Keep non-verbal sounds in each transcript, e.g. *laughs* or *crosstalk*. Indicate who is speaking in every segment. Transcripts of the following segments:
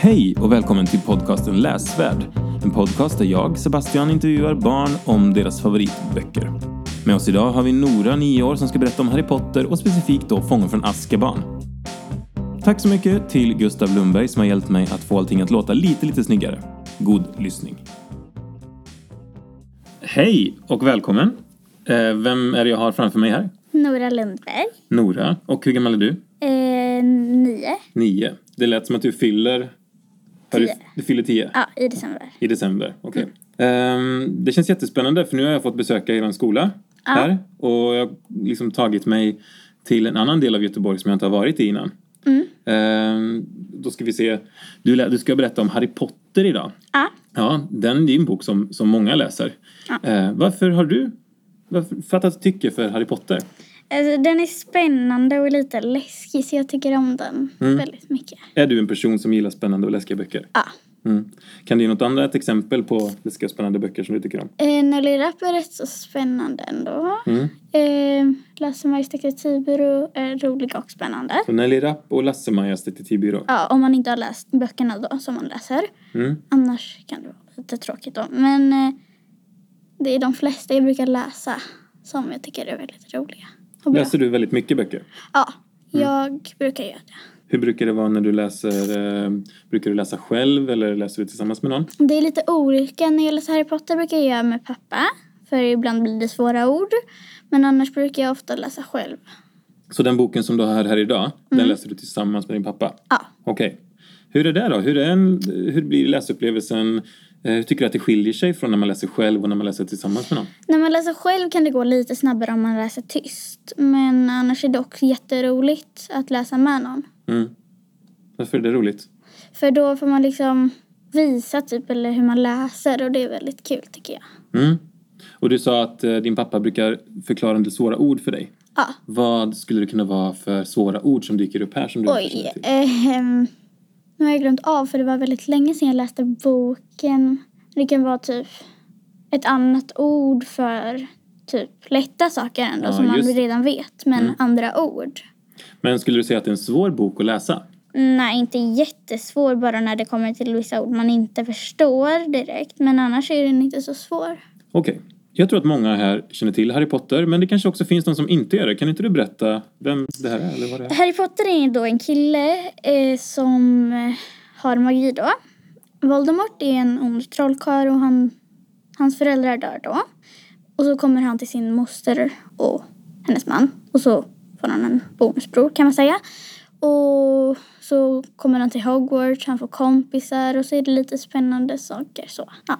Speaker 1: Hej och välkommen till podcasten Läsvärd. En podcast där jag, Sebastian, intervjuar barn om deras favoritböcker. Med oss idag har vi Nora, 9 år, som ska berätta om Harry Potter och specifikt då Fången från Azkaban. Tack så mycket till Gustav Lundberg som har hjälpt mig att få allting att låta lite, lite snyggare. God lyssning. Hej och välkommen. Eh, Vem är det jag har framför mig här?
Speaker 2: Nora Lundberg,
Speaker 1: Nora. Och hur gammal är du?
Speaker 2: eh, nio,
Speaker 1: Nio. Det lät som att du fyller... har Du,
Speaker 2: Tio.
Speaker 1: du fyller tio?
Speaker 2: ja, i december.
Speaker 1: I december, okej. Ehm, det känns jättespännande för nu har jag fått besöka er skola här och jag har liksom tagit mig till en annan del av Göteborg som jag inte har varit i innan. Ehm, då ska vi se, du, lä- du ska berätta om Harry Potter idag.
Speaker 2: Ja,
Speaker 1: Ja, den det är en bok som, som många läser. Ehm, varför har du varför, fattat tycke för Harry Potter?
Speaker 2: alltså, den är spännande och lite läskig så jag tycker om den väldigt mycket.
Speaker 1: Är du en person som gillar spännande och läskiga böcker?
Speaker 2: Ja.
Speaker 1: Mm. Kan du ge något annat exempel på läskiga och spännande böcker som du tycker om?
Speaker 2: Eh, Nelly Rapp är rätt så spännande ändå. Eh, Lasse Majs detektivbyrå är rolig och spännande.
Speaker 1: Så Nelly Rapp och Lasse-Majas detektivbyrå.
Speaker 2: Ja, om man inte har läst böckerna då som man läser.
Speaker 1: Mm.
Speaker 2: Annars kan det vara lite tråkigt då. Men eh, det är de flesta jag brukar läsa som jag tycker är väldigt roliga. Och bra.
Speaker 1: Läser du väldigt mycket böcker?
Speaker 2: Ja, jag brukar göra det.
Speaker 1: Hur brukar det vara när du läser? Eh, brukar du läsa själv eller läser du tillsammans med någon?
Speaker 2: Det är lite olika. När jag läser Harry Potter brukar jag göra med pappa. För ibland blir det svåra ord. Men annars brukar jag ofta läsa själv.
Speaker 1: Så den boken som du har här idag,
Speaker 2: Mm.
Speaker 1: den läser du tillsammans med din pappa?
Speaker 2: Ja.
Speaker 1: Okej. Hur är det då? Hur, är en, hur blir läsupplevelsen? Eh, hur tycker du att det skiljer sig från när man läser själv och när man läser tillsammans med någon?
Speaker 2: När man läser själv kan det gå lite snabbare om man läser tyst. Men annars är det också jätteroligt att läsa med någon.
Speaker 1: Mm. Varför är det roligt?
Speaker 2: För då får man liksom visa typ eller hur man läser och det är väldigt kul tycker jag.
Speaker 1: Mm. Och du sa att eh, din pappa brukar förklara en del svåra ord för dig.
Speaker 2: Ja.
Speaker 1: Vad skulle det kunna vara för svåra ord som dyker upp här som du inte känner
Speaker 2: Oj.
Speaker 1: till?
Speaker 2: ehm, nu har jag glömt av för det var väldigt länge sedan jag läste boken. Det kan vara typ ett annat ord för typ lätta saker ändå
Speaker 1: Ja,
Speaker 2: som man
Speaker 1: just det. Mm.
Speaker 2: redan vet men andra ord.
Speaker 1: Men skulle du säga att det är en svår bok att läsa?
Speaker 2: Nej, inte jättesvår bara när det kommer till vissa ord man inte förstår direkt. Men annars är den inte så svår.
Speaker 1: Okej. Jag tror att många här känner till Harry Potter, men det kanske också finns någon som inte gör det. Kan inte du berätta vem det här är, eller vad det är?
Speaker 2: Harry Potter är då en kille eh, som eh, har magi då. Voldemort är en ond trollkarl och han, hans föräldrar dör då. Och så kommer han till sin moster och hennes man. Och så får han en bonusbror kan man säga. Och så kommer han till Hogwarts, han får kompisar och så är det lite spännande saker så. Ja,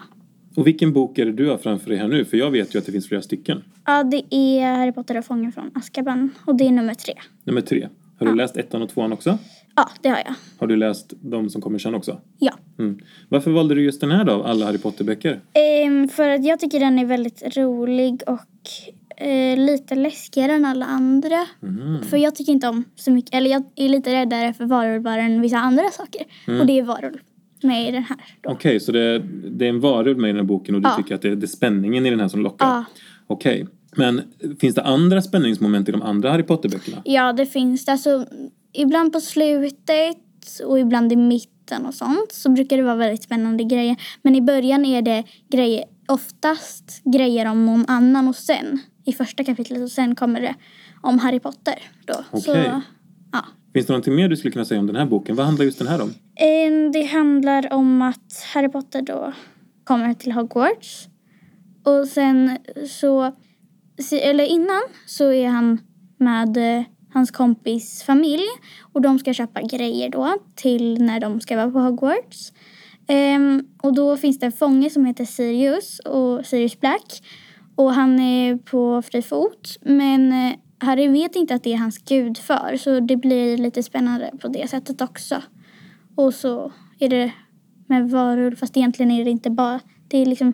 Speaker 1: Och vilken bok är det du har framför dig här nu? För jag vet ju att det finns flera stycken.
Speaker 2: ja det är Harry Potter och fången från Azkaban och det är nummer tre.
Speaker 1: Nummer tre. Har du läst ettan och tvåan också?
Speaker 2: Ja, det har jag.
Speaker 1: Har du läst de som kommer sen också?
Speaker 2: Ja.
Speaker 1: Mm. Varför valde du just den här då, av alla Harry Potter-böcker?
Speaker 2: Ehm, för att jag tycker den är väldigt rolig och eh, lite läskigare än alla andra. För jag tycker inte om så mycket, eller jag är lite räddare för varulvar än vissa andra saker. Och det är varulv med i den här.
Speaker 1: Okej, så det, det är en varulv med i den här boken och du
Speaker 2: Ja.
Speaker 1: tycker att det, det är spänningen i den här som lockar?
Speaker 2: Ja.
Speaker 1: Okej. Men finns det andra spänningsmoment i de andra Harry Potter-böckerna?
Speaker 2: Ja, det finns det. Alltså, ibland på slutet och ibland i mitten och sånt så brukar det vara väldigt spännande grejer. Men i början är det grejer, oftast grejer om någon annan och sen i första kapitlet och sen kommer det om Harry Potter. Då.
Speaker 1: Okej.
Speaker 2: Så, ja.
Speaker 1: Finns det någonting mer du skulle kunna säga om den här boken? Vad handlar just den här om?
Speaker 2: Ehm, Det handlar om att Harry Potter då kommer till Hogwarts. Och sen så, se- eller innan så är han med eh, hans kompis familj och de ska köpa grejer då till när de ska vara på Hogwarts. Ehm, och då finns det en fånge som heter Sirius och Sirius Black och han är på fri fot men eh, Harry vet inte att det är hans gudfar så det blir lite spännande på det sättet också. Och så är det med varulv, fast egentligen är det inte bara... Det är liksom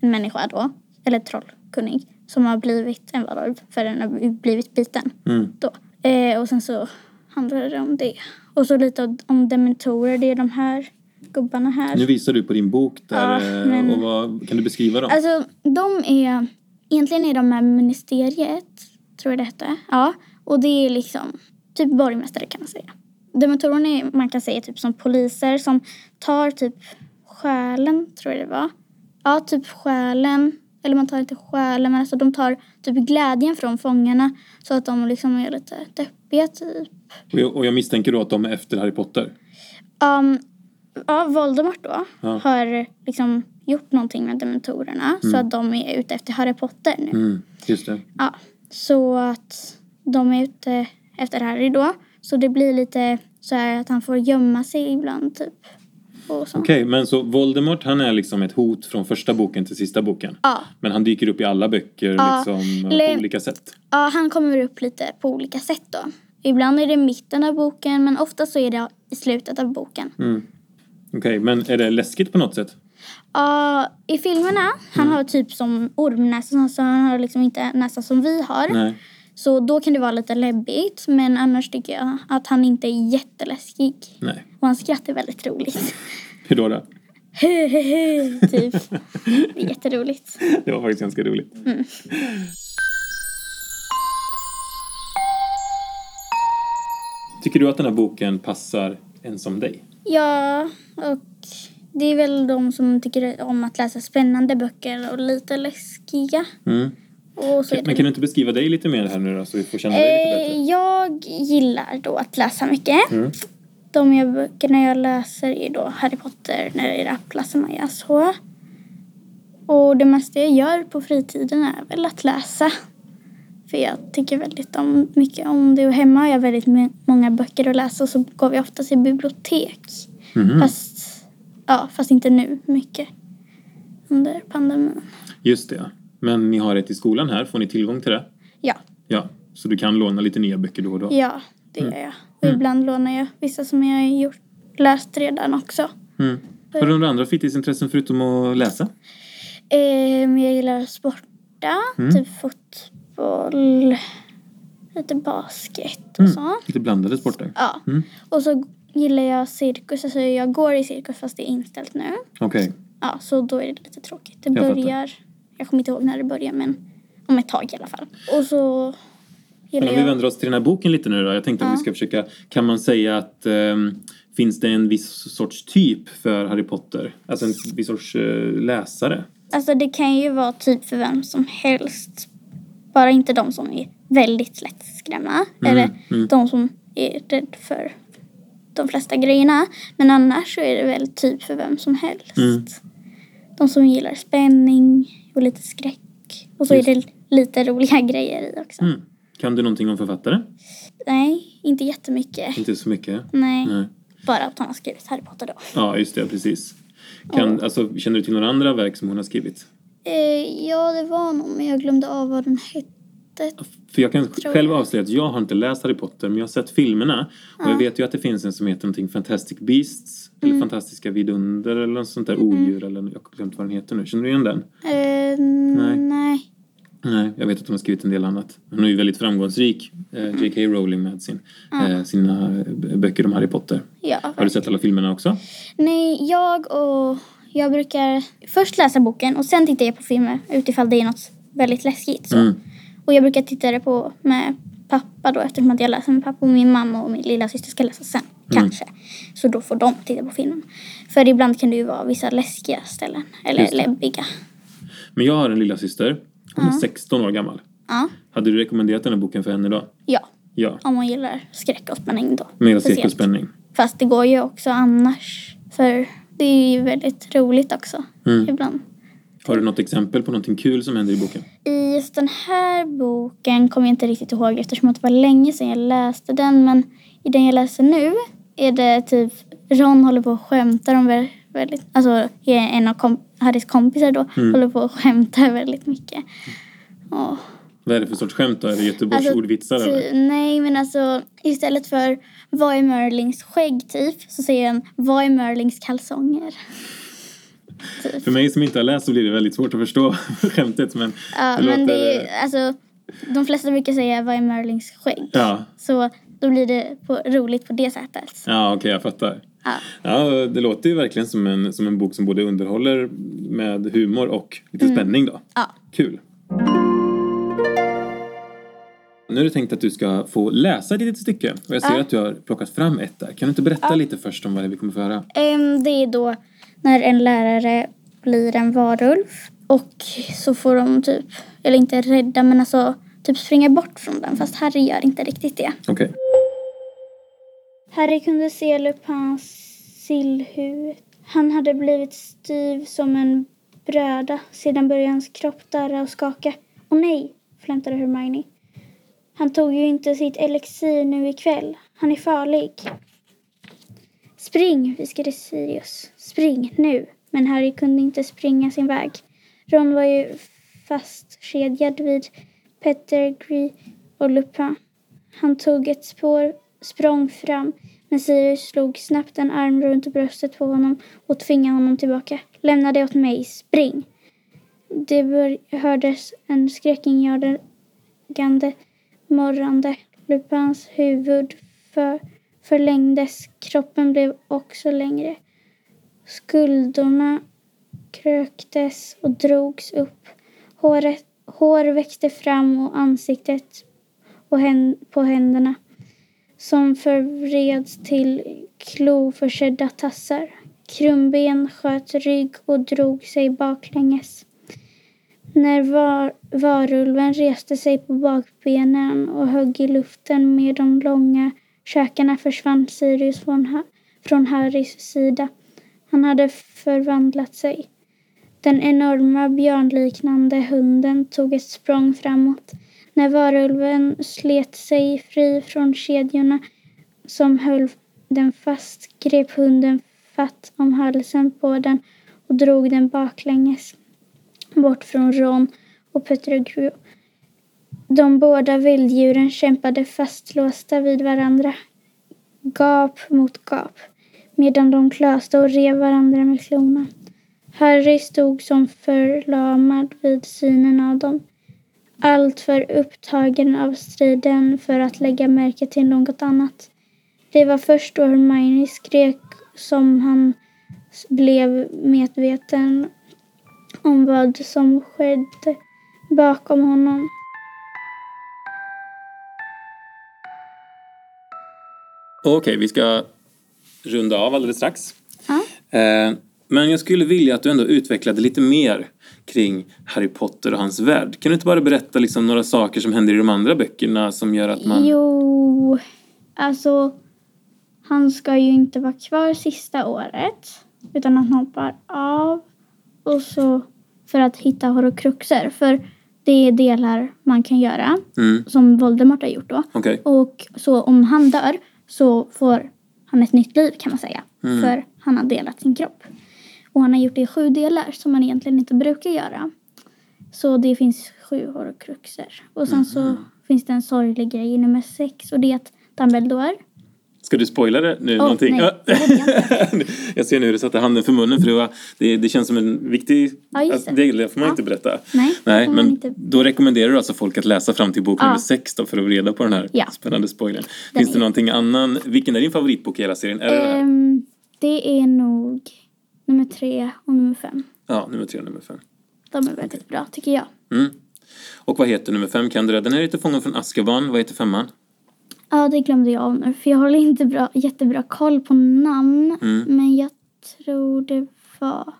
Speaker 2: en människa då, eller trollkunnig, som har blivit en varulv för den har blivit biten.
Speaker 1: Mm.
Speaker 2: Då. Eh, och sen så handlar det om det. Och så lite om dementorer, det är de här gubbarna här.
Speaker 1: Nu visar du på din bok där,
Speaker 2: Ja,
Speaker 1: eh,
Speaker 2: men-
Speaker 1: och vad, kan du beskriva dem?
Speaker 2: Alltså, de är... Egentligen är de med ministeriet, tror jag det hette. Ja, och det är liksom typ borgmästare kan man säga. Dementorerna är, man kan säga, typ som poliser som tar typ själen, tror jag det var. Ja, typ själen. Eller man tar inte själen, men alltså de tar typ glädjen från fångarna så att de liksom är lite deppiga, typ.
Speaker 1: Och jag, och jag misstänker då att de är efter Harry Potter.
Speaker 2: Um, ja, Voldemort då
Speaker 1: Ja.
Speaker 2: har liksom gjort någonting med dementorerna så att de är ute efter Harry Potter nu.
Speaker 1: Mm, just det.
Speaker 2: Ja, så att de är ute efter Harry då. Så det blir lite så här att han får gömma sig ibland typ. Och så.
Speaker 1: Okej, men så Voldemort han är liksom ett hot från första boken till sista boken.
Speaker 2: Ja.
Speaker 1: Men han dyker upp i alla böcker
Speaker 2: Ja.
Speaker 1: liksom eh,
Speaker 2: Le-
Speaker 1: på olika sätt.
Speaker 2: ja, han kommer upp lite på olika sätt då. Ibland är det i mitten av boken men ofta så är det i slutet av boken.
Speaker 1: Okej, men är det läskigt på något sätt?
Speaker 2: Ja, i filmerna, han har typ som ormnäsa så han har liksom inte näsa som vi har.
Speaker 1: Nej.
Speaker 2: Så då kan det vara lite läbbigt men annars tycker jag att han inte är jätteläskig.
Speaker 1: Nej.
Speaker 2: Och hans skratt är väldigt roligt.
Speaker 1: Hur då? *laughs* då?
Speaker 2: Hehehe, typ. Det är jätteroligt.
Speaker 1: Det var faktiskt ganska roligt.
Speaker 2: Mm.
Speaker 1: Tycker du att den här boken passar en som dig?
Speaker 2: Ja, och det är väl de som tycker om att läsa spännande böcker och lite läskiga.
Speaker 1: Mm.
Speaker 2: Och så är
Speaker 1: Men
Speaker 2: det.
Speaker 1: kan du inte beskriva dig lite mer här nu då så vi får känna dig lite bättre? Mm.
Speaker 2: Eh, jag gillar då att läsa mycket. De jag, böckerna jag läser är då Harry Potter, När det är Rapplas och Maja så. Och det mesta jag gör på fritiden är väl att läsa. För jag tycker väldigt om, mycket om det och hemma har jag väldigt me- många böcker att läsa och så går vi ofta till bibliotek. Eh, Mhm.
Speaker 1: Mm.
Speaker 2: Fast, ja, fast inte nu mycket under pandemin.
Speaker 1: Just det. Men ni har ett i skolan här, får ni tillgång till det?
Speaker 2: Ja,
Speaker 1: Ja, så du kan låna lite nya böcker då och då?
Speaker 2: ja det
Speaker 1: Mm.
Speaker 2: gör jag. Och ibland lånar jag vissa som jag har gjort, läst redan också.
Speaker 1: Mm. Har du några andra fritidsintressen förutom att läsa?
Speaker 2: Ehm, jag gillar att sporta,
Speaker 1: Mm.
Speaker 2: typ fotboll, lite basket och
Speaker 1: Mm.
Speaker 2: så.
Speaker 1: Lite blandade sporter?
Speaker 2: Ja. Och så gillar jag cirkus, alltså jag går i cirkus fast det är inställt nu.
Speaker 1: Okej.
Speaker 2: Ja, så då är det lite tråkigt. Det
Speaker 1: Jag fattar.
Speaker 2: börjar, jag kommer inte ihåg när det börjar men om ett tag i alla fall. Och så gillar
Speaker 1: Men om vi
Speaker 2: jag,
Speaker 1: vänder oss till den här boken lite nu då. Jag tänkte om vi ska försöka, kan man säga att ehm, finns det en viss sorts typ för Harry Potter? Alltså en viss sorts eh, läsare?
Speaker 2: alltså det kan ju vara typ för vem som helst. Bara inte de som är väldigt lättskrämda
Speaker 1: Mm,
Speaker 2: eller de som är rädd för de flesta grejerna. Men annars så är det väl typ för vem som helst.
Speaker 1: Mm.
Speaker 2: De som gillar spänning och lite skräck. Och så
Speaker 1: Just.
Speaker 2: är det lite roliga *laughs* grejer i också.
Speaker 1: Mm. Kan du någonting om författare?
Speaker 2: Nej, inte jättemycket.
Speaker 1: Inte så mycket?
Speaker 2: Nej.
Speaker 1: Nej.
Speaker 2: Bara att han har skrivit Harry Potter då.
Speaker 1: Ja, just det, precis. Kan, alltså, känner du till några andra verk som hon har skrivit?
Speaker 2: Eh, ja, det var någon, men jag glömde av vad den hette.
Speaker 1: För jag kan
Speaker 2: Tror
Speaker 1: själv
Speaker 2: jag.
Speaker 1: avslöja att jag har inte läst Harry Potter men jag har sett filmerna och jag vet ju att det finns en som heter någonting Fantastic Beasts
Speaker 2: Mm.
Speaker 1: eller Fantastiska Vidunder eller något sånt där odjur eller jag har glömt vad den heter nu. Känner du igen den?
Speaker 2: Eh, nej. nej.
Speaker 1: Nej, jag vet att de har skrivit en del annat. Hon är ju väldigt framgångsrik, eh,
Speaker 2: Mm.
Speaker 1: J.K. Rowling med sin, eh, sina eh, böcker om Harry Potter.
Speaker 2: Ja.
Speaker 1: Har du sett alla filmerna också?
Speaker 2: Nej, jag och... Jag brukar först läsa boken och sen tittar jag på filmer utifall det är något väldigt läskigt. Så.
Speaker 1: Mm.
Speaker 2: Och jag brukar titta det på med pappa då eftersom att jag läser med pappa och min mamma och min lilla syster ska läsa sen.
Speaker 1: Mm.
Speaker 2: Kanske. Så då får de titta på filmen. För ibland kan det ju vara vissa läskiga ställen. Eller
Speaker 1: Just det.
Speaker 2: läbbiga.
Speaker 1: Men jag har en lilla syster. hon är 16 år gammal.
Speaker 2: Ja.
Speaker 1: Hade du rekommenderat den här boken för henne då?
Speaker 2: ja.
Speaker 1: Ja,
Speaker 2: Om man gillar skräck och spänning då.
Speaker 1: med
Speaker 2: Speciellt.
Speaker 1: cirkus och spänning.
Speaker 2: Fast det går ju också annars. För det är ju väldigt roligt också.
Speaker 1: Mm.
Speaker 2: Ibland.
Speaker 1: Har du något exempel på någonting kul som händer i boken?
Speaker 2: I just den här boken kommer jag inte riktigt ihåg eftersom att det var länge sedan jag läste den. Men i den jag läser nu är det typ Ron håller på och skämtar om vä- väldigt, alltså en av kom, Harrys kompisar då
Speaker 1: Mm.
Speaker 2: håller på och skämtar väldigt mycket. Och,
Speaker 1: Vad är det för sorts skämt då? Är det Göteborgsordvitsar
Speaker 2: alltså, ty-
Speaker 1: eller?
Speaker 2: nej men alltså istället för vad är Merlings skägg typ så säger han vad är Merlings
Speaker 1: *laughs*
Speaker 2: kalsonger. Typ.
Speaker 1: För mig som inte har läst så blir det väldigt svårt att förstå *laughs* skämtet men...
Speaker 2: Ja,
Speaker 1: det
Speaker 2: men det
Speaker 1: låter-
Speaker 2: är ju, alltså de flesta brukar säga vad är Merlings skägg.
Speaker 1: Ja,
Speaker 2: Så då blir det på, roligt på det sättet.
Speaker 1: ja okej jag fattar.
Speaker 2: Ja.
Speaker 1: Ja, det låter ju verkligen som en, som en bok som både underhåller med
Speaker 2: Mm.
Speaker 1: humor och lite spänning då.
Speaker 2: Ja.
Speaker 1: Kul. Nu är det tänkt att du ska få läsa ett litet stycke och jag ser
Speaker 2: Ja.
Speaker 1: att du har plockat fram ett där. Kan du inte berätta lite först om vad det är vi kommer få höra?
Speaker 2: Ehm, Det är då när en lärare blir en varulv och så får de typ, eller inte rädda men alltså typ springa bort från den fast Harry gör inte riktigt det.
Speaker 1: Okej.
Speaker 2: Harry kunde se Lupins sillhuvud. Han hade blivit styv som en bröda. Sedan började hans kropp darra och skaka. Åh nej, flämtade Hermione. Han tog ju inte sitt elixir nu ikväll. Han är farlig. Spring, viskade Sirius. Spring, nu. Men Harry kunde inte springa sin väg. Ron var ju fastkedjad vid Pettigrew och Lupin. Han tog ett spår, språng fram, men Sirius slog snabbt en arm runt bröstet på honom och tvingade honom tillbaka. Lämna det åt mig, spring! Det bör- hördes en skräckinjagande morrande. Lupins huvud för, förlängdes, kroppen blev också längre. Skuldrorna kröktes och drogs upp. Håret, hår växte fram och ansiktet och hän, på händerna som förvreds till kloförsedda tassar. Krumben sköt rygg och drog sig baklänges. När var, varulven reste sig på bakbenen och högg i luften med de långa käkarna försvann Sirius från, Ha- från Harrys sida. Han hade förvandlat sig. Den enorma björnliknande hunden tog ett språng framåt. När varulven slet sig fri från kedjorna som höll den fast grep hunden fatt om halsen på den och drog den baklänges bort från Ron och Pettigrew. De båda vilddjuren kämpade fastlåsta vid varandra, gap mot gap, medan de klöste och rev varandra med klorna. Harry stod som förlamad vid synen av dem. Alltför upptagen av striden för att lägga märke till något annat. Det var först då Hermione skrek som han s- blev medveten om vad som skedde bakom honom.
Speaker 1: Okej, vi ska runda av alldeles strax.
Speaker 2: Ja.
Speaker 1: Eh, men jag skulle vilja att du ändå utvecklade lite mer kring Harry Potter och hans värld. Kan du inte bara berätta liksom några saker som händer i de andra böckerna som gör att man...
Speaker 2: Jo, alltså han ska ju inte vara kvar sista året utan han hoppar av och så för att hitta horokruxer för det är delar man kan göra
Speaker 1: Mm,
Speaker 2: som Voldemort har gjort då.
Speaker 1: okej.
Speaker 2: Och så om han dör så får han ett nytt liv kan man säga.
Speaker 1: Mm.
Speaker 2: För han har delat sin kropp. Och han har gjort det i sju delar som man egentligen inte brukar göra. Så det finns sju horokruxer. Och sen så
Speaker 1: Mm.
Speaker 2: finns det en sorglig grej i nummer sex och det är att Dumbledore
Speaker 1: Ska du spoila det nu?
Speaker 2: Åh,
Speaker 1: någonting? *laughs*
Speaker 2: nej. Det hade
Speaker 1: jag ser nu hur du satte handen för munnen för det, var, det, det känns som en viktig
Speaker 2: Ja, just
Speaker 1: alltså,
Speaker 2: det.
Speaker 1: del, det får man
Speaker 2: Ja.
Speaker 1: inte berätta.
Speaker 2: Nej,
Speaker 1: Nej,
Speaker 2: får man
Speaker 1: men
Speaker 2: inte.
Speaker 1: då rekommenderar du alltså folk att läsa fram till bok
Speaker 2: Ja.
Speaker 1: nummer sex då för att få reda på den här
Speaker 2: Ja.
Speaker 1: spännande spoilern. Finns
Speaker 2: är-
Speaker 1: det någonting annan? Vilken är din favoritbok i hela serien? Är det den här?
Speaker 2: Ehm, det är nog nummer tre och nummer fem.
Speaker 1: Ja, nummer tre och nummer fem.
Speaker 2: De är väldigt bra tycker jag.
Speaker 1: Mm. Och vad heter nummer fem? Kan du det? Den här heter Fången från Azkaban. Vad heter femman?
Speaker 2: Ja, det glömde jag av nu. För jag håller inte bra, jättebra koll på namn.
Speaker 1: Mm.
Speaker 2: Men jag tror det var...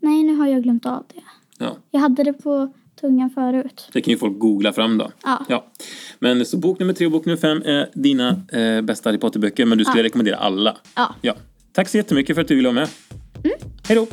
Speaker 2: Nej, nu har jag glömt av det.
Speaker 1: Ja,
Speaker 2: Jag hade det på tungan förut.
Speaker 1: det kan ju folk googla fram då.
Speaker 2: Ja.
Speaker 1: Ja. Men så bok nummer tre och bok nummer fem är dina eh, bästa Harry Potter-böcker, men du skulle rekommendera alla.
Speaker 2: Ja.
Speaker 1: Ja. Tack så jättemycket för att du ville vara med. Hej då!